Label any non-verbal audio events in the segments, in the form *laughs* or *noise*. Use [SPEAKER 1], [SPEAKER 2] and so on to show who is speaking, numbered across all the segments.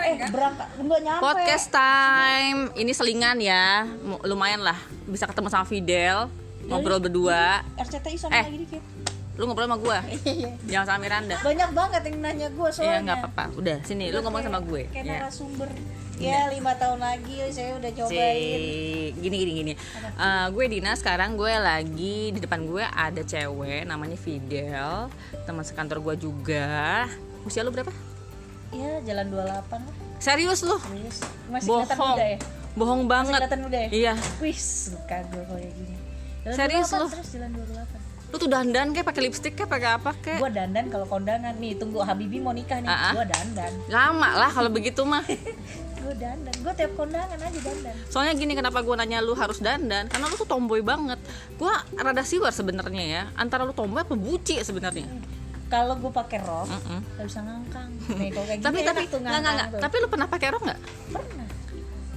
[SPEAKER 1] eh berangkat nggak nyampe
[SPEAKER 2] Podcast time. Ini selingan ya. Mu- Lumayan lah bisa ketemu sama Fidel, ngobrol berdua.
[SPEAKER 1] RCTI sama
[SPEAKER 2] Eh.
[SPEAKER 1] lagi
[SPEAKER 2] *laughs*
[SPEAKER 1] dikit
[SPEAKER 2] Lu ngobrol sama gua.
[SPEAKER 1] Iya.
[SPEAKER 2] Jangan sama Miranda.
[SPEAKER 1] banyak banget yang nanya gue soalnya
[SPEAKER 2] Iya, nggak apa-apa. Udah, sini lu ngomong sama gue.
[SPEAKER 1] kayak
[SPEAKER 2] Iya.
[SPEAKER 1] narasumber ya lima tahun lagi saya udah cobain
[SPEAKER 2] Cik. Gini gini gini. Eh, gue Dina sekarang gue lagi di depan gue ada cewek namanya Fidel, teman sekantor gue juga. Usia lu berapa?
[SPEAKER 1] ya jalan 28 lah
[SPEAKER 2] Serius lu?
[SPEAKER 1] serius masih kelihatan
[SPEAKER 2] Bohong.
[SPEAKER 1] muda ya
[SPEAKER 2] Bohong
[SPEAKER 1] masih
[SPEAKER 2] banget.
[SPEAKER 1] kelihatan muda ya
[SPEAKER 2] Iya.
[SPEAKER 1] wis suka gue kalau kayak gini jalan
[SPEAKER 2] Serius
[SPEAKER 1] 28,
[SPEAKER 2] lu?
[SPEAKER 1] terus jalan 28
[SPEAKER 2] Lu tuh dandan kayak pakai lipstick kayak pakai apa kayak?
[SPEAKER 1] gue dandan kalau kondangan nih tunggu Habibi mau nikah nih
[SPEAKER 2] Ah, ah.
[SPEAKER 1] gue dandan
[SPEAKER 2] Lama lah kalau begitu mah.
[SPEAKER 1] gue dandan gue tiap kondangan aja dandan
[SPEAKER 2] Soalnya gini kenapa gue nanya lu harus dandan Karena lu tuh tomboy banget Gue rada siwar sebenarnya ya Antara lu tomboy apa buci sebenarnya
[SPEAKER 1] kalau gue pakai rok
[SPEAKER 2] Mm-mm.
[SPEAKER 1] gak bisa ngangkang nih kalau
[SPEAKER 2] *laughs*
[SPEAKER 1] kayak gini
[SPEAKER 2] Tapi
[SPEAKER 1] enak
[SPEAKER 2] tapi
[SPEAKER 1] tuh
[SPEAKER 2] nggak
[SPEAKER 1] ngangkang
[SPEAKER 2] nggak nggak.
[SPEAKER 1] tuh.
[SPEAKER 2] Tapi lu pernah pakai rok nggak?
[SPEAKER 1] pernah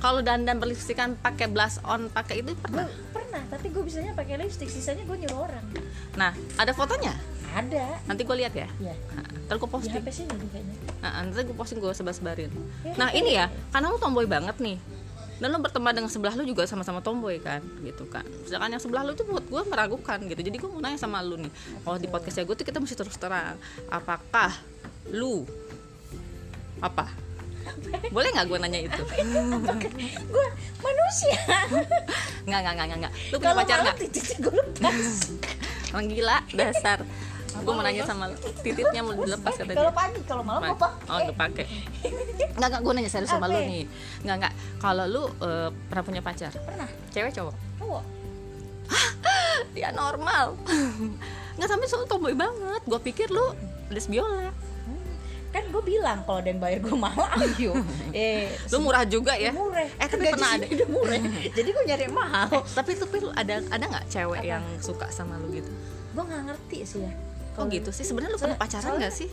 [SPEAKER 2] Kalau dandan berlipstikan pakai blush on pakai itu
[SPEAKER 1] gue
[SPEAKER 2] pernah.
[SPEAKER 1] pernah tapi gue bisanya pakai lipstick sisanya gue nyuruh orang
[SPEAKER 2] Nah ada fotonya
[SPEAKER 1] ada
[SPEAKER 2] nanti gue lihat ya.
[SPEAKER 1] ya
[SPEAKER 2] Nah, Ntar gue
[SPEAKER 1] di
[SPEAKER 2] posting.
[SPEAKER 1] HP sih jadi kayaknya
[SPEAKER 2] Nah, nanti gue posting gue sebar sebarin. Nah ini ya, karena lu tomboy banget nih. Dan lu berteman dengan sebelah lu juga sama-sama tomboy kan, gitu kan. Sedangkan yang sebelah lu itu buat gue meragukan gitu. Jadi gue mau nanya sama lu nih. Kalau di podcastnya gue tuh kita mesti terus terang. Apakah lu apa? Boleh nggak gue nanya itu?
[SPEAKER 1] gue
[SPEAKER 2] *laughs*
[SPEAKER 1] manusia
[SPEAKER 2] Nggak nggak nggak nggak, nggak. Lu punya
[SPEAKER 1] kalau
[SPEAKER 2] pacar
[SPEAKER 1] malam
[SPEAKER 2] nggak?
[SPEAKER 1] titiknya gue
[SPEAKER 2] *laughs*
[SPEAKER 1] lepas
[SPEAKER 2] Orang gila dasar. Gue mau nanya sama lu. Titiknya mau dilepas kata dia.
[SPEAKER 1] kalau pagi kalau malam gue
[SPEAKER 2] Pakai. Oh,
[SPEAKER 1] pakai
[SPEAKER 2] lu *laughs* pakai. Enggak enggak gue nanya serius sama lu
[SPEAKER 1] Apa?
[SPEAKER 2] nih. Enggak enggak. Kalau lu eh, pernah punya pacar?
[SPEAKER 1] pernah
[SPEAKER 2] Cewek *laughs* cowok?
[SPEAKER 1] cowok
[SPEAKER 2] Dia Ya, *laughs* normal. Enggak sampai soal tomboy banget. Gue pikir lu lesbiola.
[SPEAKER 1] Hmm. kan gue bilang kalau ada yang bayar gue
[SPEAKER 2] *laughs*
[SPEAKER 1] mau ayo eh
[SPEAKER 2] Lu murah juga Iya. ya?
[SPEAKER 1] murah
[SPEAKER 2] Eh, tapi
[SPEAKER 1] Gaji
[SPEAKER 2] pernah ada.
[SPEAKER 1] sini udah murah
[SPEAKER 2] *laughs*
[SPEAKER 1] jadi gue nyari yang mahal
[SPEAKER 2] Eh, tapi tapi lu ada ada nggak cewek yang suka sama lu gitu?
[SPEAKER 1] gue nggak ngerti sih ya Kalau-
[SPEAKER 2] Oh gitu sih. Sebenarnya lu
[SPEAKER 1] Soalnya-
[SPEAKER 2] pernah pacaran nggak sih?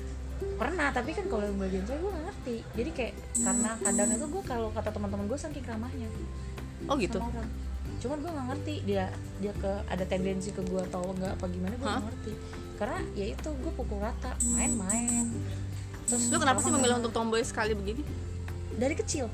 [SPEAKER 1] pernah tapi kan kalau yang bagian cewek gue nggak ngerti jadi kayak karena kadang itu gue kalau kata teman-teman gue saking ramahnya
[SPEAKER 2] Oh gitu.
[SPEAKER 1] sama orang cuman gue nggak ngerti dia dia ke ada tendensi ke gue atau nggak apa gimana gue nggak
[SPEAKER 2] Hah?
[SPEAKER 1] ngerti karena ya itu gue pukul rata main-main terus
[SPEAKER 2] Lu kenapa
[SPEAKER 1] kalau
[SPEAKER 2] sih
[SPEAKER 1] nggak-
[SPEAKER 2] memilih untuk tomboy sekali begini?
[SPEAKER 1] dari kecil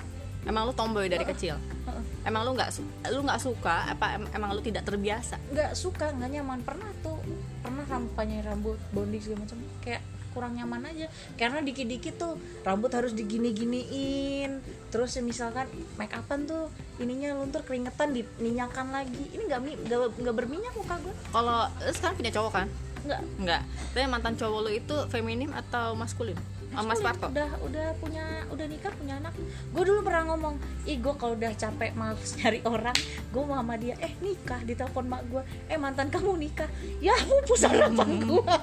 [SPEAKER 2] Emang lu tomboy dari kecil?
[SPEAKER 1] Heeh.
[SPEAKER 2] Emang lu nggak su- lu nggak suka apa em- emang lu tidak terbiasa?
[SPEAKER 1] nggak suka nggak nyaman pernah tuh pernah kampanye rambut bonding segala macam kayak kurang nyaman aja karena dikit-dikit tuh rambut harus digini-giniin terus ya misalkan make upan tuh ininya luntur keringetan diminyakan lagi ini nggak mi- nggak nggak berminyak muka gue
[SPEAKER 2] Kalau lu sekarang punya cowok kan?
[SPEAKER 1] nggak
[SPEAKER 2] Enggak. Tapi mantan cowok lo itu feminim atau maskulin? Oh, Mas
[SPEAKER 1] Sulit,
[SPEAKER 2] Parto.
[SPEAKER 1] udah udah punya udah nikah punya anak gue dulu pernah ngomong ih gue kalau udah capek males *laughs* nyari orang gue mau sama dia eh nikah ditelepon mak gue eh mantan kamu nikah ya mampus harapan gue *laughs*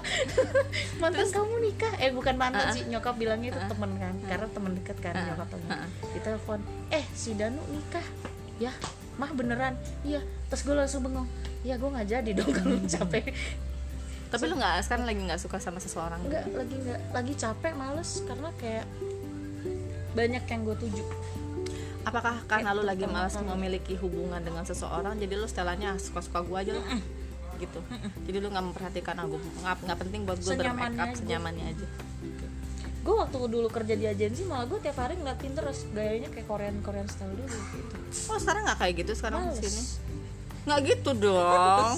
[SPEAKER 1] mantan kamu nikah eh bukan mantan
[SPEAKER 2] Ah-ah.
[SPEAKER 1] sih nyokap bilangnya itu
[SPEAKER 2] Ah-ah.
[SPEAKER 1] temen kan karena temen deket kan
[SPEAKER 2] Ah-ah.
[SPEAKER 1] nyokap temen
[SPEAKER 2] Ah-ah.
[SPEAKER 1] ditelepon eh si Danu nikah ya mah beneran iya terus gue langsung bengong ya gue nggak jadi dong *laughs* kalau capek
[SPEAKER 2] Tapi lu nggak sekarang lagi nggak suka sama seseorang?
[SPEAKER 1] nggak lagi nggak lagi capek males karena kayak banyak yang gue tuju
[SPEAKER 2] Apakah karena lu lagi
[SPEAKER 1] pertama
[SPEAKER 2] malas
[SPEAKER 1] kali.
[SPEAKER 2] memiliki hubungan dengan seseorang, jadi lu setelahnya suka-suka gua aja lah, gitu. Jadi lu nggak memperhatikan aku, nggak nggak penting buat gue bermake
[SPEAKER 1] Senyamannya
[SPEAKER 2] up
[SPEAKER 1] aja.
[SPEAKER 2] senyamannya aja.
[SPEAKER 1] gue waktu dulu kerja di agensi malah gue tiap hari ngeliatin terus gayanya kayak Korean Korean style dulu gitu
[SPEAKER 2] Oh sekarang nggak kayak gitu sekarang
[SPEAKER 1] males
[SPEAKER 2] kesini? Nggak gitu dong.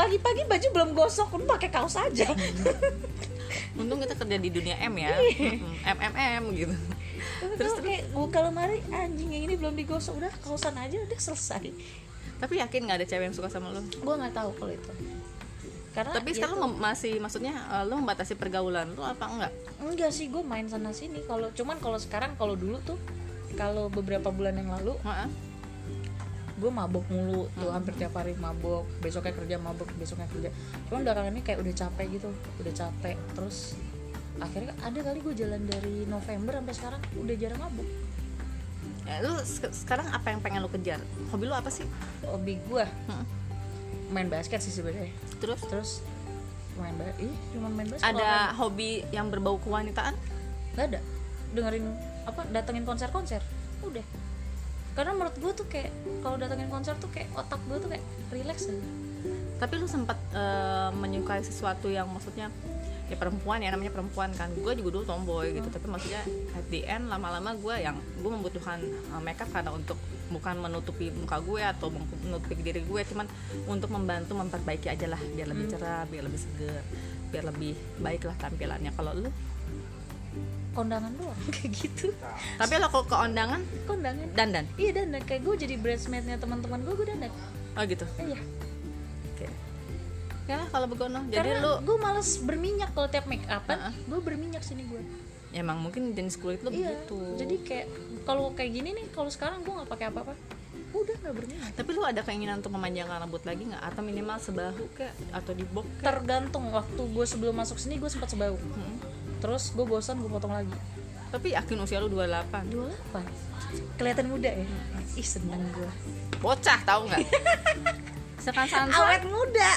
[SPEAKER 1] pagi-pagi baju belum gosok udah pakai kaos
[SPEAKER 2] *laughs*
[SPEAKER 1] aja
[SPEAKER 2] Untung kita kerja di dunia M ya,
[SPEAKER 1] Iya.
[SPEAKER 2] MMM gitu.
[SPEAKER 1] terus kayak buka lemari anjing yang ini belum digosok udah kausan aja udah selesai
[SPEAKER 2] Tapi yakin nggak ada cewek yang suka sama lu?
[SPEAKER 1] gue nggak tahu kalau itu karena
[SPEAKER 2] Tapi
[SPEAKER 1] ya
[SPEAKER 2] sekarang
[SPEAKER 1] itu-
[SPEAKER 2] lu mem- masih maksudnya eh, lu membatasi pergaulan lu apa enggak?
[SPEAKER 1] enggak sih gue main sana sini kalau cuman kalau sekarang kalau dulu tuh kalau beberapa bulan yang lalu
[SPEAKER 2] Heeh.
[SPEAKER 1] gue mabok mulu tuh hampir tiap hari mabok besoknya kerja mabok besoknya kerja cuman belakangan ini kayak udah capek gitu udah capek terus akhirnya ada kali gue jalan dari November sampai sekarang udah jarang mabok
[SPEAKER 2] Ya, lu se- sekarang apa yang pengen lu kejar? Hobi lu apa sih?
[SPEAKER 1] hobi gue
[SPEAKER 2] Heeh.
[SPEAKER 1] main basket sih sebenarnya
[SPEAKER 2] Terus
[SPEAKER 1] terus main ba ih cuma main basket
[SPEAKER 2] ada hobi yang berbau kewanitaan?
[SPEAKER 1] nggak ada dengerin apa datengin konser-konser udah karena menurut gue tuh kayak kalau datengin konser tuh kayak otak gue tuh kayak relax aja
[SPEAKER 2] Tapi lu sempat eh, menyukai sesuatu yang maksudnya ya perempuan ya namanya perempuan kan gue juga dulu tomboy gitu tapi maksudnya at the end lama-lama gue yang gue membutuhkan uh, makeup karena untuk bukan menutupi muka gue atau mem- menutupi diri gue cuman untuk membantu memperbaiki aja lah biar lebih cerah biar lebih seger biar lebih baik lah tampilannya kalau lu
[SPEAKER 1] kondangan doang *laughs* kayak gitu
[SPEAKER 2] tapi lo kalau ke undangan
[SPEAKER 1] kondangan
[SPEAKER 2] dandan
[SPEAKER 1] iya dandan kayak gue jadi bridesmaidnya teman-teman gue gue dandan
[SPEAKER 2] oh gitu
[SPEAKER 1] iya
[SPEAKER 2] oke ya lah kalau begono jadi
[SPEAKER 1] karena
[SPEAKER 2] lu
[SPEAKER 1] gue males berminyak kalau tiap make upan
[SPEAKER 2] Heeh.
[SPEAKER 1] gue berminyak sini gue
[SPEAKER 2] ya emang mungkin jenis kulit lu
[SPEAKER 1] iya
[SPEAKER 2] begitu
[SPEAKER 1] jadi kayak kalau kayak gini nih kalau sekarang gue nggak pakai apa-apa udah nggak berminyak
[SPEAKER 2] tapi lu ada keinginan untuk memanjangkan rambut lagi nggak atau minimal sebahu kek atau di bob kek?
[SPEAKER 1] tergantung waktu gue sebelum masuk sini gue sempat sebau
[SPEAKER 2] Mm-mm.
[SPEAKER 1] terus gue bosan gue potong lagi
[SPEAKER 2] tapi yakin usia lu 28
[SPEAKER 1] 28 kelihatan muda ya ih seneng gue
[SPEAKER 2] bocah tahu *laughs* nggak sekan sansan
[SPEAKER 1] awet muda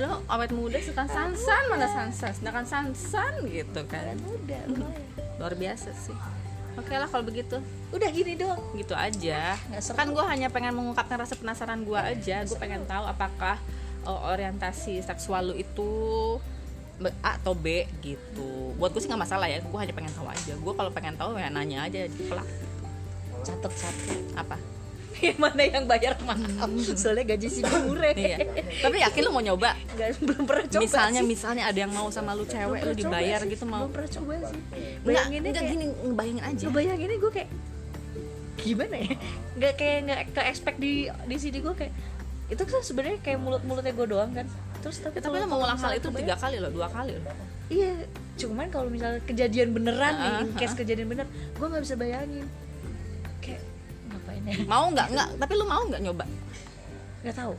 [SPEAKER 2] lu awet muda sekan sansan mana sansan sedangkan sansan gitu kan
[SPEAKER 1] awet *laughs* muda lumayan.
[SPEAKER 2] luar biasa sih oke lah kalau begitu
[SPEAKER 1] udah gini doang
[SPEAKER 2] gitu aja
[SPEAKER 1] Nggak seru.
[SPEAKER 2] kan gue hanya pengen mengungkapkan rasa penasaran gue aja gue pengen tahu apakah uh, orientasi seksual lu itu be- A atau B gitu buat gue sih nggak masalah ya gue hanya pengen tahu aja gue kalau pengen tahu ya nanya aja pelak
[SPEAKER 1] catet satu
[SPEAKER 2] apa
[SPEAKER 1] *laughs* yang mana yang bayar mahal soalnya gaji
[SPEAKER 2] *laughs*
[SPEAKER 1] si murah
[SPEAKER 2] Hmm. iya tapi yakin lu mau nyoba
[SPEAKER 1] nggak *laughs* belum pernah coba
[SPEAKER 2] misalnya
[SPEAKER 1] sih.
[SPEAKER 2] misalnya ada yang mau sama lu cewek lu
[SPEAKER 1] Belum pernah coba
[SPEAKER 2] dibayar
[SPEAKER 1] sih.
[SPEAKER 2] gitu mau
[SPEAKER 1] belum pernah coba sih
[SPEAKER 2] nggak
[SPEAKER 1] bayanginnya
[SPEAKER 2] nggak
[SPEAKER 1] kayak
[SPEAKER 2] gini bayangin aja
[SPEAKER 1] Lu bayanginnya gue kayak gimana ya *laughs* nggak kayak nggak ke expect di di sini gue kayak itu kan sebenarnya kayak mulut mulutnya gue doang kan terus tapi
[SPEAKER 2] tapi lu
[SPEAKER 1] kalau-
[SPEAKER 2] mau
[SPEAKER 1] kalau
[SPEAKER 2] ngulang hal
[SPEAKER 1] misalnya
[SPEAKER 2] itu
[SPEAKER 1] kebayang-
[SPEAKER 2] tiga kali loh dua kali loh
[SPEAKER 1] iya cuman kalau misalnya kejadian beneran nih in
[SPEAKER 2] Ah,
[SPEAKER 1] case kejadian bener gue nggak bisa bayangin kayak ngapain ya *laughs*
[SPEAKER 2] mau nggak nggak tapi lu mau nggak nyoba
[SPEAKER 1] nggak tahu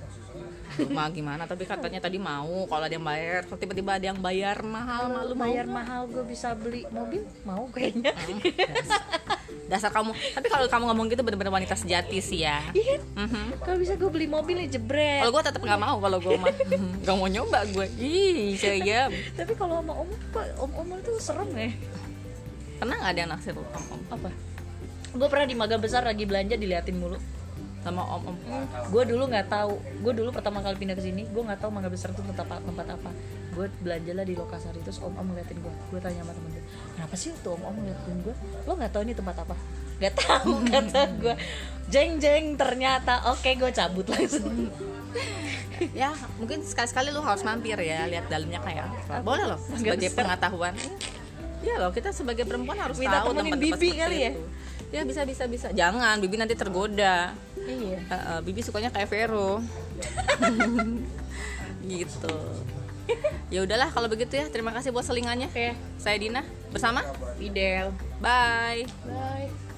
[SPEAKER 2] rumah gimana tapi katanya tadi mau kalau ada yang bayar kalau tiba-tiba ada yang bayar mahal malu mau
[SPEAKER 1] bayar mahal gue bisa beli mobil mau kayaknya *laughs*
[SPEAKER 2] dasar kamu tapi kalau kamu ngomong gitu bener-bener wanita sejati sih ya
[SPEAKER 1] iya kan
[SPEAKER 2] Mhm.
[SPEAKER 1] kalau bisa gue beli mobil nih jebret
[SPEAKER 2] kalau gue tetap nggak mau kalau gue mah *laughs* Mhm. nggak mau nyoba gue ih iya, saya
[SPEAKER 1] tapi kalau sama om kok om om itu serem ya
[SPEAKER 2] pernah nggak ada yang naksir lu om om
[SPEAKER 1] apa gue pernah di maga besar lagi belanja diliatin mulu
[SPEAKER 2] sama om om
[SPEAKER 1] gue dulu nggak tahu gue dulu pertama kali pindah ke sini gue nggak tahu mangga besar itu tempat apa tempat apa gue belanja lah di lokasari terus om om ngeliatin gue gue tanya sama temen gue kenapa sih tuh om om ngeliatin gue lo nggak tahu ini tempat apa nggak tahu
[SPEAKER 2] *laughs*
[SPEAKER 1] kata gue jeng jeng ternyata oke gue cabut langsung
[SPEAKER 2] ya mungkin sekali-sekali lu harus mampir ya lihat dalamnya kayak apa boleh loh sebagai
[SPEAKER 1] besar.
[SPEAKER 2] pengetahuan ya loh kita sebagai perempuan harus
[SPEAKER 1] Minta
[SPEAKER 2] tahu
[SPEAKER 1] temenin
[SPEAKER 2] tempat-tempat
[SPEAKER 1] bibi
[SPEAKER 2] seperti
[SPEAKER 1] kali ya?
[SPEAKER 2] itu. ya bisa bisa bisa jangan bibi nanti tergoda
[SPEAKER 1] iya
[SPEAKER 2] Eh, eh, Bibi sukanya kayak Vero. *laughs* gitu. Ya udahlah kalau begitu ya. Terima kasih buat selingannya.
[SPEAKER 1] oke
[SPEAKER 2] Saya Dina bersama
[SPEAKER 1] Fidel
[SPEAKER 2] Bye.
[SPEAKER 1] bye